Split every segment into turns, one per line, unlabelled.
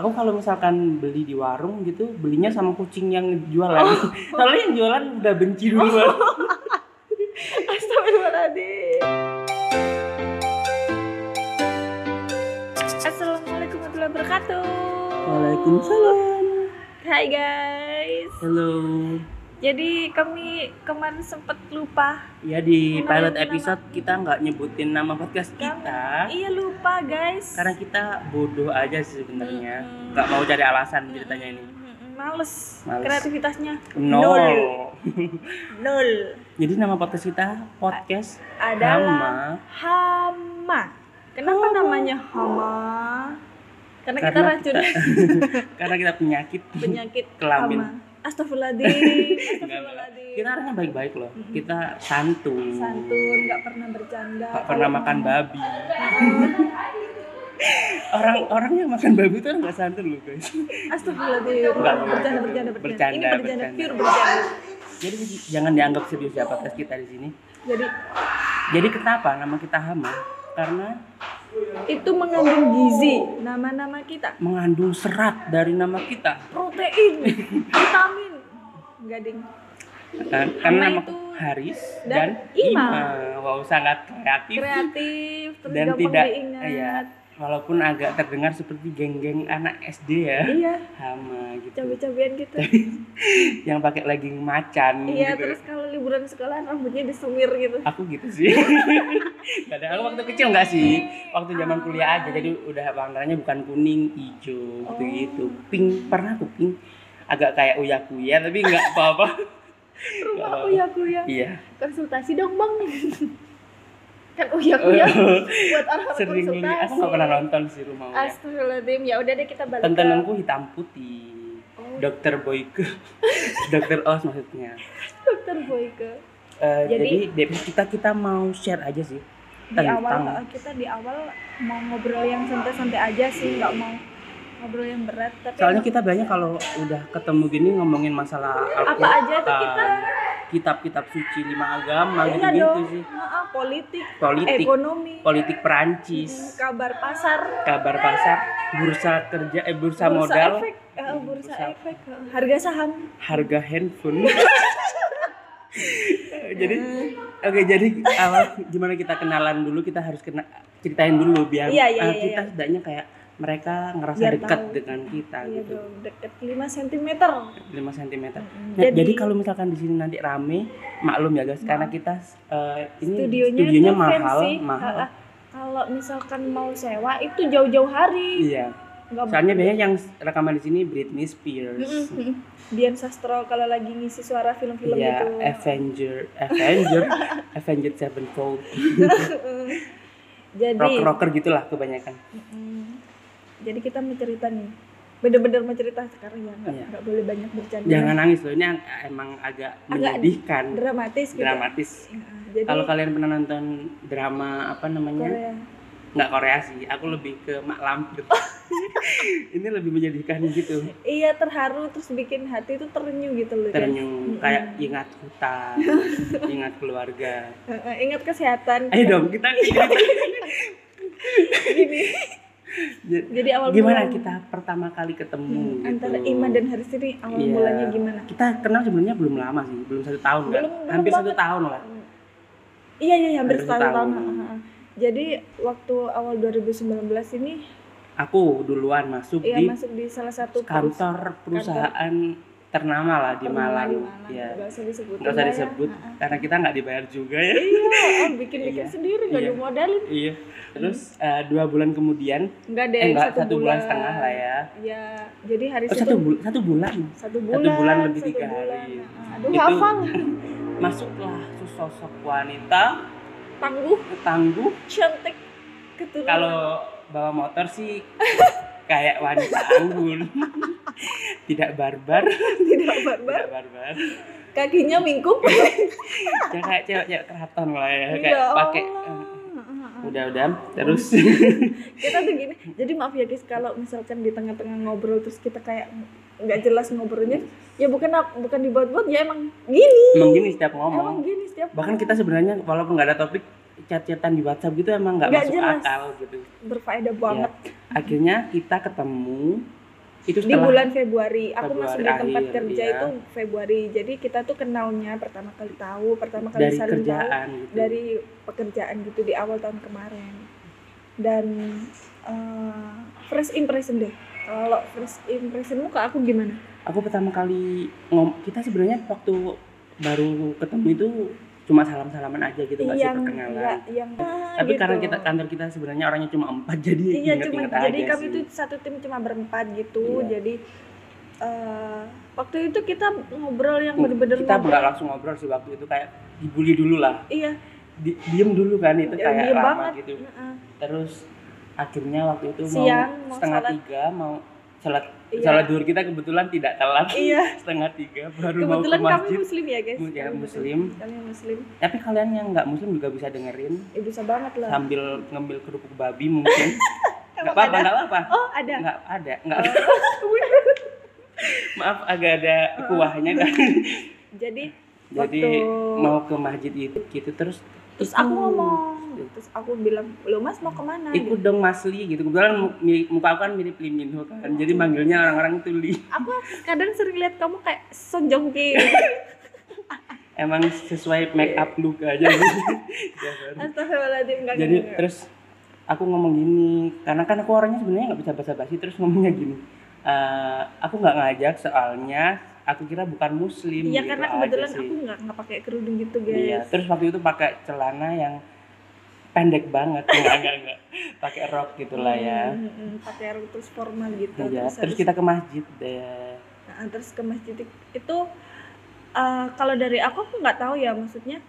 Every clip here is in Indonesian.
Aku kalau misalkan beli di warung gitu, belinya sama kucing yang jualan.
Oh.
Soalnya yang jualan udah benci duluan.
Astagfirullahaladzim. Assalamualaikum warahmatullahi wabarakatuh.
Waalaikumsalam.
Hai guys.
Halo.
Jadi kami kemarin sempet lupa.
Ya di
Kenalin
pilot
nama.
episode kita nggak nyebutin nama podcast kita
Iya lupa guys.
karena kita bodoh aja sih sebenarnya.
Mm-mm.
Nggak mau cari alasan ceritanya ini.
Mm-mm, Males.
Males.
Kreativitasnya Nol.
Nol.
nol.
Jadi nama podcast kita podcast
Adalah
Hama
hama. Kenapa namanya hama? Karena, kita
Karena
racun
karena kita penyakit.
penyakit
Kelamin.
hama. Astagfirullahaladzim.
Enggak, enggak.
Astagfirullahaladzim.
Kita orangnya baik-baik loh.
Mm-mm.
Kita santun.
santun nggak pernah bercanda
Gak pernah makan babi. orang orang yang makan babi itu nggak santun loh guys.
astagfirullahaladzim
Enggak, enggak.
bercanda bercanda bercanda ini
Bercanda,
bercanda
bercanda.
pure bercanda
Jadi jangan dianggap serius ya podcast kita di sini.
jadi
Jadi kenapa nama kita Hama? Karena
itu mengandung gizi nama-nama kita
mengandung serat dari nama kita.
protein vitamin gading
Kan- Karena
Hama
nama
itu
Haris
dan
dan,
Ima.
Ima. Wow, sangat kreatif,
kreatif terus
dan
gampang
tidak
diingat
ya, walaupun agak terdengar seperti geng-geng anak SD ya.
iya
Hama gitu.
cabai-cabian gitu
Yang pakai legging macan
iya
gitu.
terus kalau liburan sekolah rambutnya disemir gitu
aku gitu sih padahal waktu kecil nggak sih waktu zaman kuliah aja jadi udah warnanya bukan kuning hijau gitu gitu pink pernah aku pink agak kayak uya kuya tapi nggak apa apa
rumah uya kuya
iya
konsultasi dong bang kan uya kuya buat orang
sering beli
konsultasi
aku nggak pernah nonton sih rumah uya
Astagfirullahaladzim, ya udah deh kita balik ke
tentenanku hitam putih
Oh,
dokter boyke dokter os maksudnya
dokter Boyke.
Eh, jadi,
Jadi-
Dep, kita kita mau share aja sih
Di
Tentang.
awal eh, kita di awal mau ngobrol yang santai-santai aja sih, nggak mau ngobrol yang berat. Tapi
soalnya kita banyak kalau udah ketemu gini ngomongin masalah
apa
Al-Quran,
aja tuh kita
kitab-kitab suci lima agama
enggak
gitu
Iya dong,
gitu sih
Heeh, politik,
politik
ekonomi,
politik
mm,
Perancis
kabar pasar,
kabar pasar bursa kerja eh bursa,
bursa
modal
efek, eh,
Mm,
bursa,
bursa.
efek, eh, harga saham.
harga handphone jadi oke jadi awal gimana kita kenalan dulu kita harus kena ceritain dulu biar
Iya, iya,
eh,
iya,
kita
iya.
setidaknya kayak mereka ngerasa
Biar
dekat
tahu.
dengan kita
Iya
gitu
dong, deket 5 cm.
5 cm
Mm,
Nah, jadi, kalau misalkan di sini nanti rame, maklum ya guys, karena kita eh, ini
studionya,
studionya,
tuh
mahal,
fancy.
mahal.
Ah, ah. Kalau misalkan mau sewa itu jauh-jauh hari.
Iya.
Nggak
Soalnya biasanya yang rekaman di sini Britney Spears,
Mm-mm. Dian Sastro kalau lagi ngisi suara film-film gitu.
ya
itu.
Avenger, Avenger, Avenger Sevenfold,
Jadi,
rocker rocker gitulah kebanyakan.
mm, jadi kita mau cerita nih. Bener-bener mau cerita sekarang ya, nggak
Iya.
nggak boleh banyak bercanda.
Jangan nangis loh, ini ag- emang agak menyedihkan,
dramatis gitu.
dramatis.
Ya, jadi
Kalau kalian pernah nonton drama apa namanya?
Korea.
Nggak Korea sih, aku lebih ke Mak Lampir. ini lebih menyedihkan gitu.
Iya terharu terus bikin hati itu terenyuh gitu loh. kan.
terenyuh kayak ingat hutan ingat keluarga
Heeh, Ingat kesehatan.
ayo dong kita
Iya. Gini.
Ja-
Jadi awal
gimana
mula-
kita pertama kali ketemu
Hmm,
gitu.
antara Ima dan Haris ini awal
Iya.
mulanya gimana?
kita kenal sebenarnya belum lama sih belum satu tahun kan
Belum- belum
hampir satu
banget.
tahun lah
Iya iya iya, hampir
Hampir
setahun.
setahun.
tahun. Heeh. Jadi waktu awal 2019 ini
aku duluan masuk
Iya
di
masuk di salah satu
kantor
perusahaan
perusahaan ternama lah di
ternama
Malang
di Malang.
ya
Nggak usah disebut.
nggak usah disebut karena kita nggak dibayar juga ya
Iya, oh, bikin bikin
Iya.
sendiri nggak
Iya.
dimodalin.
iya terus
Hmm.
eh, dua bulan kemudian
Nggak deh,
eh, enggak, satu, bulan. setengah lah ya
Iya, jadi hari
oh,
itu
satu bulan satu bulan
satu bulan,
bulan lebih
satu
tiga
bulan.
hari.
Nah, Aduh,
Itu-
hafal
masuklah sosok wanita
tangguh,
tangguh
cantik, keturunan.
kalau bawa motor sih kayak wanita anggun tidak barbar
tidak barbar,
tidak barbar
kakinya mingkup.
ya kayak cewek-cewek keraton lah ya kayak
Ya
pakai
Allah.
eh, udah-udah terus
kita tuh gini jadi maaf ya guys kalau misalkan di tengah-tengah ngobrol terus kita kayak nggak jelas ngobrolnya ya bukan ap- bukan dibuat-buat ya emang gini
emang gini setiap
emang
ngomong
gini setiap
Oh. bahkan kita sebenarnya walaupun nggak ada topik chat-chatan di WhatsApp gitu emang nggak
Nggak
masuk
jelas.
akal gitu
berfaedah banget
akhirnya kita ketemu itu
di
setelah
bulan Februari aku
Februari
masuk di tempat
akhir,
kerja
ya.
itu Februari jadi kita tuh kenalnya pertama kali tahu pertama kali
dari
saling tahu
kerjaan gitu.
dari pekerjaan gitu di awal tahun kemarin dan eh, first impression deh kalau first impressionmu ke aku gimana
aku pertama kali ngom kita sebenarnya waktu baru ketemu itu cuma salam-salaman aja gitu nggak sih
yang
perkenalan
Iya, nggak yang Ah,
tapi karena
gitu.
kita kantor kita sebenarnya orangnya cuma empat jadi
Iya
inget
cuma
inget aja
jadi kami
sih
tuh satu tim cuma berempat gitu.
Iya.
Jadi eh waktu itu kita ngobrol yang
Hmm,
bener-bener
kita
ngobrol.
nggak langsung ngobrol sih waktu itu kayak dibully dulu lah
Iya,
Di- diem dulu kan itu
ya,
kayak
diem
lama
banget.
gitu
Heeh.
terus akhirnya waktu itu
Siang,
mau
mau
setengah
sholat.
tiga mau sholat
Iya.
sholat duhur kita kebetulan tidak telat
Iya,
setengah tiga baru
kebetulan
mau ke
kami
masjid
muslim ya, guys.
Mu- ya,
Kami
muslim.
Kami muslim.
tapi kalian yang nggak muslim juga bisa dengerin
Ya bisa banget lah.
sambil ngambil kerupuk babi mungkin nggak
Emang
apa-apa
ada?
nggak apa-apa
Oh, ada. Oh.
nggak ada nggak maaf agak ada
Oh.
kuahnya kan
Jadi
jadi
Waktu-
mau ke masjid itu gitu terus "Hmm,
terus aku
ikut.
ngomong, terus aku bilang, "Lo Mas mau kemana?"
ikut dong Masli gitu kebetulan mu- mi- muka aku kan mirip Lee Min Ho kan jadi manggilnya orang-orang tuh Lee
Aku kadang sering lihat kamu kayak sonjongki.
emang sesuai make up look aja gitu. Tiap hari.
Astagfirullahaladzim, enggak
jadi terus aku ngomong gini karena kan aku orangnya sebenarnya nggak bisa basa-basi terus ngomongnya gini "Eh, aku nggak ngajak soalnya aku kira bukan muslim
Iya
gitu
karena
aja
kebetulan
sih.
aku nggak nggak pakai kerudung gitu
Iya,
guys.
terus waktu itu pakai celana yang pendek banget, enggak enggak enggak. Pakai rok gitulah ya.
Mm, mm, mm, pakai rok terus formal gitu.
Iya,
terus,
terus
habis-
kita ke masjid deh.
nah, terus ke masjid itu eh, kalau dari aku aku nggak tahu ya maksudnya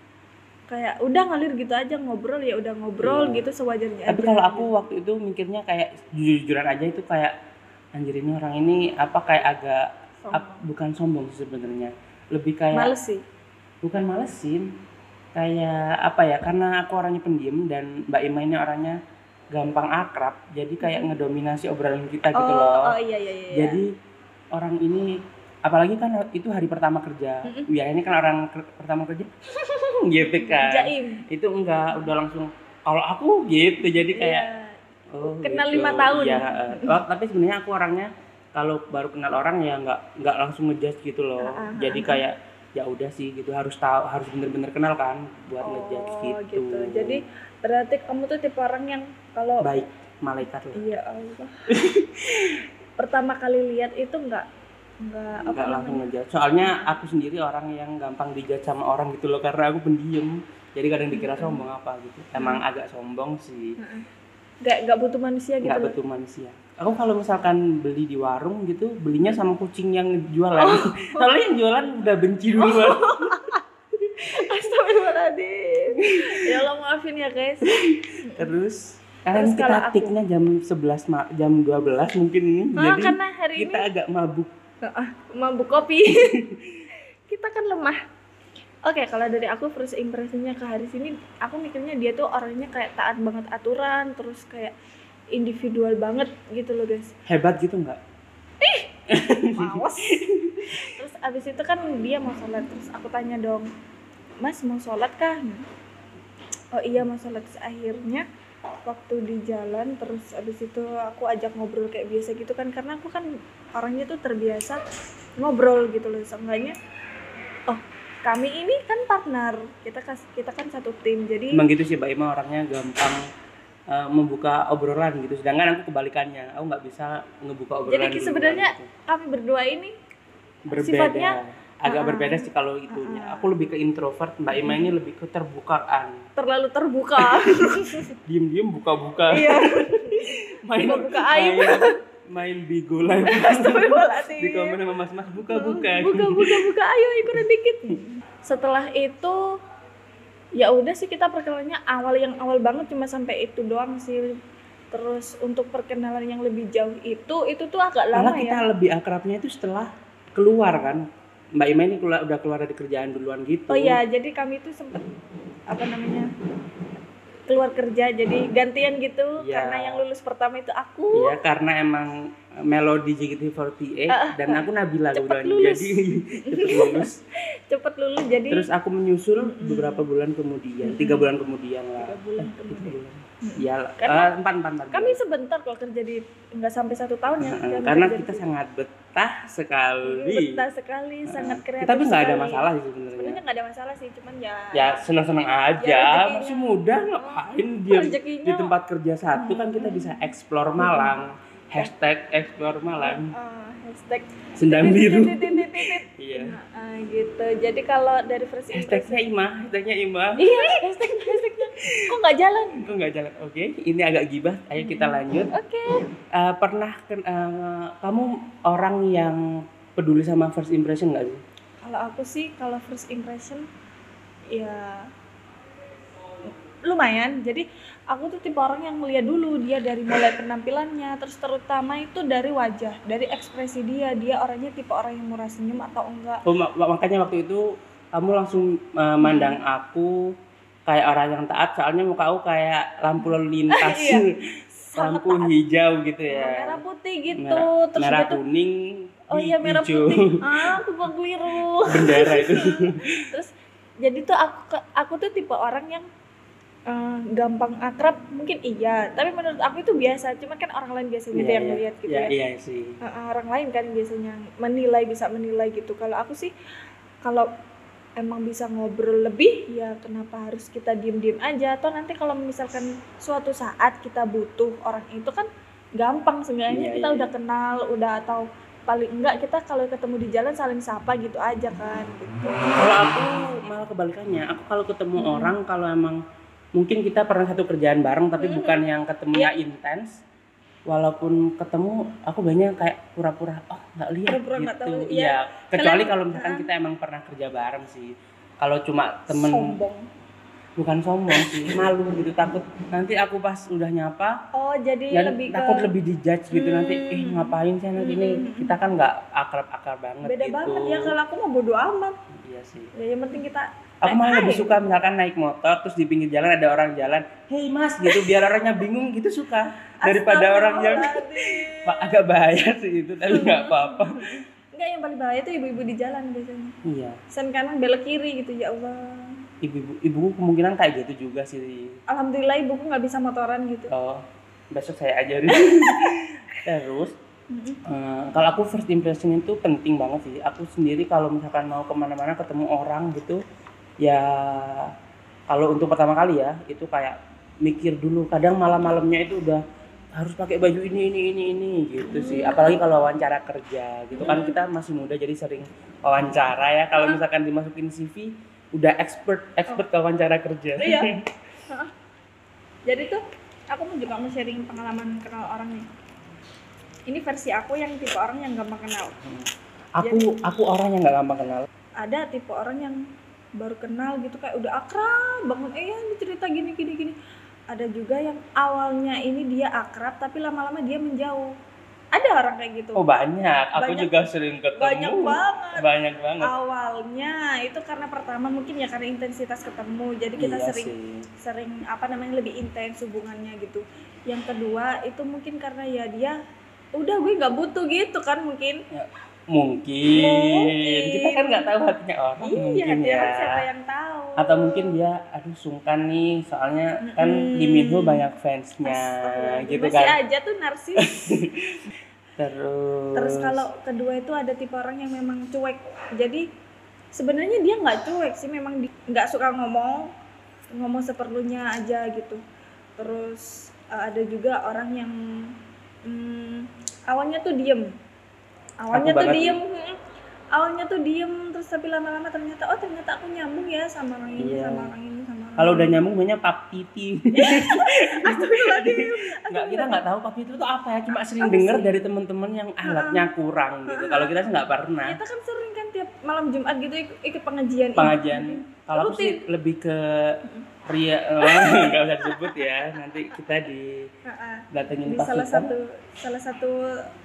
kayak udah ngalir gitu aja ngobrol ya udah ngobrol
Iya.
gitu sewajarnya.
Tapi
aja.
kalau aku waktu itu mikirnya kayak jujur-jujuran aja itu kayak anjir ini orang ini apa kayak agak
Sombong.
ap- bukan sombong sih sebenarnya. Lebih kayak
males sih.
bukan malesin. Kayak apa ya? Karena aku orangnya pendiam dan Mbak Ima ini orangnya gampang akrab. Jadi kayak ngedominasi obrolan kita gitu
oh,
loh.
oh iya iya iya. iya.
Jadi orang ini apalagi kan itu hari pertama kerja.
Mm-mm.
Ya ini kan orang ker- pertama kerja gitu kan.
jaim.
Itu enggak udah langsung kalau aku gitu jadi kayak
Iya.
oh,
Kenal
gitu.
lima tahun.
Iya, eh. Wah, tapi sebenarnya aku orangnya kalau baru kenal orang ya nggak nggak langsung ngejudge gitu loh.
Ah, ah,
Jadi kayak ya udah sih gitu harus tahu harus bener-bener kenal kan buat ngejudge
Oh
gitu.
gitu. Jadi berarti kamu tuh tipe orang yang kalau
baik malaikat lah.
Iya Allah. Pertama kali lihat itu nggak nggak apa
nggak langsung
namanya?
ngejudge soalnya aku sendiri orang yang gampang dijudge sama orang gitu loh karena aku pendiam jadi kadang dikira
Mm-mm.
sombong apa gitu emang agak sombong sih
nggak nggak butuh manusia gitu.
nggak
loh.
betul manusia aku kalau misalkan beli di warung gitu belinya sama kucing yang jualan
Oh.
soalnya yang jualan udah benci duluan
Astagfirullahaladzim. ya Allah maafin ya guys.
terus karena
Terus kalau
Kan kita
aku-
tiknya jam 11 ma- jam 12 mungkin ini
Ah,
jadi
karena hari
kita
ini
agak mabuk
mabuk kopi. kita kan lemah. Oke, kalau dari aku first impressionnya ke hari sini, aku mikirnya dia tuh orangnya kayak taat banget aturan, terus kayak individual banget gitu loh guys.
hebat gitu nggak
Mawas. terus abis itu kan dia mau sholat terus aku tanya dong, Mas mau sholat kah? Oh iya mau sholat terus akhirnya waktu di jalan terus abis itu aku ajak ngobrol kayak biasa gitu kan karena aku kan orangnya tuh terbiasa ngobrol gitu loh seenggaknya oh kami ini kan partner kita kas- kita kan satu tim jadi
Emang gitu sih Mbak Ima orangnya gampang eh, membuka obrolan gitu. Sedangkan aku kebalikannya, aku nggak bisa ngebuka obrolan.
Jadi
duluan
sebenarnya-
gitu.
kami berdua ini
berbeda.
sifatnya-
agak
Ah.
berbeda sih kalau itunya.
Ah. Hmm.
Aku lebih ke introvert, Mbak Ima ini lebih ke terbukaan.
terlalu terbuka
Diem-diem buka-buka.
iya
main
buka-buka aib.
Main, main bigo live.
Astagfirullahaladzim.
Di komen sama mas-mas buka-buka.
buka buka buka ayo ikutan dikit setelah itu ya udah sih kita perkenalannya awal yang awal banget cuma sampai itu doang sih terus untuk perkenalan yang lebih jauh itu itu tuh agak
Malah
lama
kita
ya
lebih akrabnya itu setelah keluar kan. Mbak Ima ini keluar, udah keluar dari kerjaan duluan gitu.
oh ya jadi kami tuh sempet apa namanya keluar kerja jadi gantian gitu
Iya.
karena yang lulus pertama itu aku
Iya, karena emang eh, melodi JKT48 dan aku Nabila
Eh, cepet
kebetulan.
lulus.
Jadi cepet lulus. Iya.
cepet lulus jadi
Terus aku menyusul beberapa bulan kemudian, tiga bulan kemudian lah. Eh,
tiga bulan
Tiga
kemudian
bulan. ya
Karena-
eh, empat empat empat
Kami sebentar kok kerja di nggak sampai satu tahun ya.
Heeh,
kami
karena
kerja di
kita
situ.
sangat betah sekali Nah,
betah sekali, sangat kreatif.
tapi nggak ada
sekali.
masalah sih
Sebenarnya
sebenarnya
nggak ada masalah sih, cuman ya.
Iya. ya senang senang aja
rezekinya. Oh,
masih muda ngapain dia
rezekinya.
di tempat kerja satu kan kita bisa explore Malang
Mm-hmm.
hashtag explore Malang
eh, hashtag
sendang biru
titit, titit, titit.
iya
Nah, gitu. Jadi kalau dari first impression
hashtagnya Ima hashtagnya Ima
Iya, hashtag hashtagnya kok nggak jalan?
itu nggak jalan oke ini agak gibah ayo kita
Mm-hmm.
lanjut
Oke.
Eh, pernah ken- eh, kamu orang yang peduli sama first impression nggak sih
Kalau aku sih kalau first impression ya lumayan. Jadi aku tuh tipe orang yang melihat dulu dia dari mulai penampilannya, terus terutama itu dari wajah, dari ekspresi dia. Dia orangnya tipe orang yang murah senyum atau enggak.
Oh, mak- makanya waktu itu kamu langsung eh, mandang
Mm-hmm.
aku kayak orang yang taat soalnya muka aku kayak lampu lalu lintas
Iya, Sangat
lampu
taat.
hijau gitu ya
merah putih gitu.
Merah-
terus
merah
dia tuh
kuning
oh iya merah
hijau.
putih. Ah, aku kok keliru.
bendera itu
terus jadi tuh aku ke- aku tuh tipe orang yang eh, gampang akrab mungkin iya tapi menurut aku itu biasa cuman kan orang lain biasa gitu
Iya,
yang
iya.
melihat gitu
ya
ya
iya sih
Eh, eh, orang lain kan biasanya menilai bisa menilai gitu kalau aku sih kalau emang bisa ngobrol lebih ya kenapa harus kita diem diem aja atau nanti kalau misalkan suatu saat kita butuh orang itu kan gampang
Iya,
seenggaknya kita
iya.
udah kenal udah atau paling enggak kita kalau ketemu di jalan saling sapa gitu aja kan gitu.
kalau aku malah kebalikannya aku kalau ketemu
Hmm.
orang kalau emang mungkin kita pernah satu kerjaan bareng tapi
Hmm.
bukan yang ketemunya intens walaupun ketemu aku banyak kayak pura-pura oh nggak lihat
Pura-pura nggak
gitu
tahu, iya. Ah.
iya kecuali
Kalian-
kalau misalkan kita emang pernah kerja bareng sih kalau cuma temen
sombong
bukan sombong sih malu gitu takut nanti aku pas udah nyapa
Oh, jadi
ya
lebih ke
takut lebih dijudge gitu nanti
Hmm.
eh ngapain sih anak ini
Hmm.
kita kan nggak akrab akrab banget
beda
gitu
banget ya kalau aku mau bodo amat.
iya sih
Ya yang penting kita
Aku
Naik
malah lebih
air.
suka misalkan naik motor terus di pinggir jalan ada orang jalan, "Hei Mas" gitu biar orangnya bingung gitu suka daripada orang yang
Astagfirullahaladzim.
Pak, agak bahaya sih itu tapi nggak apa-apa.
Enggak yang paling bahaya itu ibu-ibu di jalan biasanya.
Iya,
Sen kanan belok kiri gitu ya Allah.
ibu-ibu ibuku kemungkinan kayak gitu juga sih.
Alhamdulillah ibuku nggak bisa motoran gitu.
Oh, besok saya ajarin. terus
Mm-mm.
eh, kalau aku first impression itu penting banget sih. Aku sendiri kalau misalkan mau kemana-mana ketemu orang gitu, ya kalau untuk pertama kali ya itu kayak mikir dulu. Kadang malam-malamnya itu udah harus pakai baju ini ini ini ini gitu sih. Apalagi kalau wawancara kerja gitu kan kita masih muda jadi sering wawancara ya. Kalau misalkan dimasukin CV udah expert expert ke wawancara kerja.
Iya. Heeh. Jadi tuh aku mau juga mau sharing pengalaman kenal orang nih. Ini versi aku yang tipe orang yang gampang kenal.
aku
Iya.
aku orang yang nggak gampang kenal.
ada tipe orang yang baru kenal gitu kayak udah akrab banget eh ya, ini cerita gini gini gini ada juga yang awalnya ini dia akrab tapi lama-lama dia menjauh ada orang kayak gitu
Oh banyak, aku
Banyak.
juga sering ketemu.
banyak banget Ah,
Banyak banget.
awalnya itu karena pertama mungkin ya karena intensitas ketemu jadi kita
Iya
sering
sih.
sering apa namanya lebih intens hubungannya gitu yang kedua itu mungkin karena ya dia udah gue nggak butuh gitu kan mungkin
Mungkin.
Mungkin.
kita kan nggak tahu hatinya orang
iya
mungkin ya.
dia siapa yang tahu
Atau mungkin dia aduh sungkan nih soalnya kan
Mm-mm.
di Miho banyak fansnya
Astagfirullahaladzim,
gitu
masih
kan.
aja tuh narsis
Terus
terus kalau kedua itu ada tipe orang yang memang cuek jadi sebenarnya dia nggak cuek sih memang di- nggak suka ngomong ngomong seperlunya aja gitu terus eh, ada juga orang yang mm, awalnya tuh diem awalnya
Aku
tuh
banget
diem mm. awalnya tuh diem terus tapi lama-lama ternyata oh ternyata aku nyambung ya sama orang ini
Iya.
sama orang ini sama orang
kalau udah
ini."
nyambung banyak pap titi.
Iya, Astagfirullahaladzim.
nggak kita nggak tahu pap titi itu apa ya, cuma sering
Apa
dengar
sih?
dari teman-teman yang alatnya kurang gitu. Kalau kita sih nggak pernah.
kita kan sering kan tiap malam Jumat gitu ik- ikut pengajian ini.
pengajian kalau aku sih lebih ke Ria eh, nggak usah disebut ya nanti kita di
Heeh.
datengin
di
pasukan
salah satu salah satu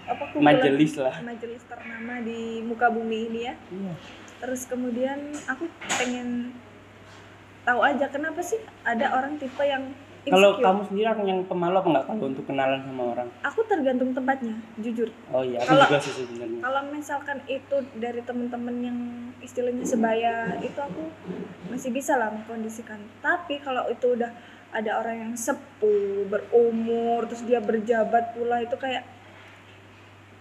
apa kumpulan
majelis lah
majelis ternama di muka bumi ini ya
Iya.
terus kemudian aku pengen tahu aja kenapa sih ada orang tipe yang
kalau
insecure
kamu sendiri orang yang pemalu apa nggak kalau untuk kenalan sama orang
aku tergantung tempatnya jujur
oh iya aku
Kalau-
juga sih sebenarnya
kalau misalkan itu dari temen-temen yang istilahnya sebaya itu aku masih bisa lah mengkondisikan tapi kalau itu udah ada orang yang sepuh berumur terus dia berjabat pula itu kayak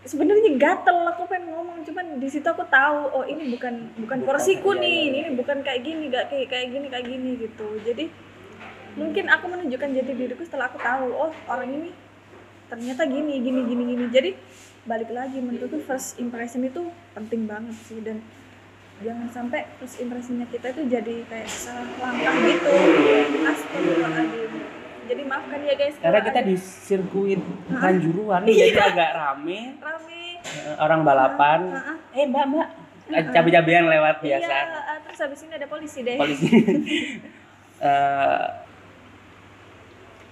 sebenarnya gatel aku pengen ngomong cuman di situ aku tahu oh ini bukan
Bukan,
bukan porsiku
iya,
nih
iya, iya.
ini bukan kayak gini gak kayak kayak gini kayak gini gitu jadi mungkin aku menunjukkan jati diriku setelah aku tahu oh orang ini ternyata gini gini gini gini jadi balik lagi menurutku first impression itu penting banget sih dan jangan sampai first impressionnya kita itu jadi kayak salah langkah gitu Astagfirullahaladzim. jadi maafkan ya guys
Karena
kalau
kita
ada
di sirkuit
Hah? Iya.
Kanjuruan jadi agak rame
rame
eh, orang balapan.
Ah, ah.
Eh mbak mbak, Eh, cabe-cabean lewat biasa.
iya ah, terus habis ini ada polisi deh
Polisi. Eh,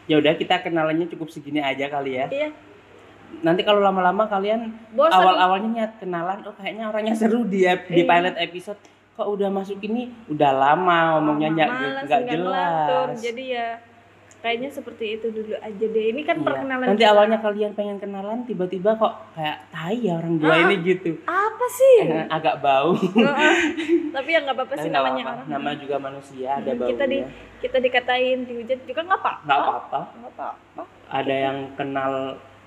ya udah kita kenalannya cukup segini aja kali ya.
iya
Nanti kalau lama-lama kalian
bosan
awal-awalnya niat kenalan, oh kayaknya orangnya seru di ep- di
Iya.
pilot episode. Kok udah masuk ini udah lama ngomongnya nggak
Malas,
nggak
Oh, nggak ngelantur.
jelas.
jadi ya kayaknya seperti itu dulu aja deh ini kan
Iya.
perkenalan
Nanti
kita.
awalnya kalian pengen kenalan, tiba-tiba kok kayak tai ya orang dua
Ah.
ini gitu.
apa sih
Eh, agak bau.
Heeh. tapi ya nggak apa-apa
Tapi
sih
nggak
namanya
apa-apa.
orang
Nama juga manusia ada
Hmm,
baunya.
kita di- Oh. kita dikatain dihujat juga nggak apa
nggak apa-apa.
nggak apa-apa
Ada yang kenal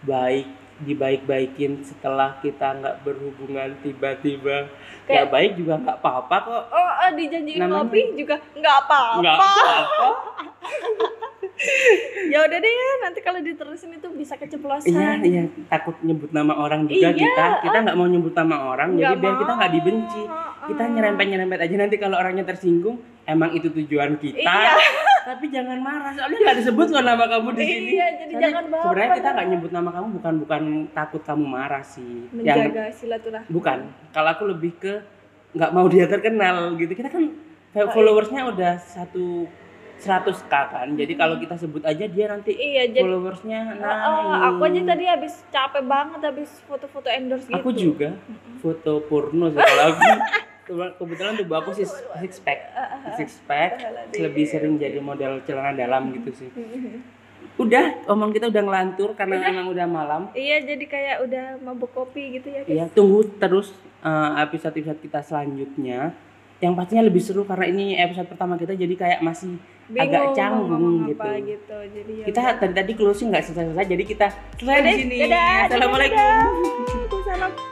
baik dibaik-baikin setelah kita nggak berhubungan tiba-tiba nggak
Kayak-
baik juga nggak apa-apa kok
oh eh, dijanjiin
Namanya-
kopi juga nggak
nggak
apa-apa
apa-apa
ya udah deh nanti kalau diterusin itu bisa
iya
keceplosan
iya takut nyebut nama orang juga
Iya,
kita kita nggak mau nyebut nama orang jadi
Nggak
biar kita nggak
mau. Ah.
dibenci
Heeh.
kita nyerempet nyerempet aja nanti kalau orangnya tersinggung emang itu tujuan kita
Iya.
tapi jangan marah soalnya nggak disebut loh nama kamu di sini
iya jadi
Soalnya
jangan baper
sebenarnya kita nggak nyebut nama kamu bukan bukan takut kamu marah sih yang
menjaga silaturahmi
bukan kalau aku lebih ke nggak mau dia terkenal gitu kita kan
Oh, iya.
followersnya udah satu 100 k kan jadi kalau kita sebut aja dia nanti
iya jadi
followersnya
Oh,
naik
oh, aku aja tadi habis capek banget habis foto-foto endorse gitu
aku juga foto porno sih kalau aku Kebetulan- kebetulan tubuh aku sih six pack
Ah,
six pack lebih sering jadi model celana dalam gitu sih udah omong kita udah ngelantur karena memang udah malam
iya jadi kayak udah mabuk kopi gitu ya guys
Iya, tunggu terus eh, episode-episode kita selanjutnya. Yang pastinya lebih seru karena ini episode pertama kita jadi kayak masih agak
Bingung mau
canggung
ngomong
gitu.
apa gitu jadi ya
kita tadi tadi closing nggak selesai-selesai jadi kita selesai di
Dadah,
sini.
dadah, dadah,
Assalamualaikum.
dadah. Waalaikumsalam.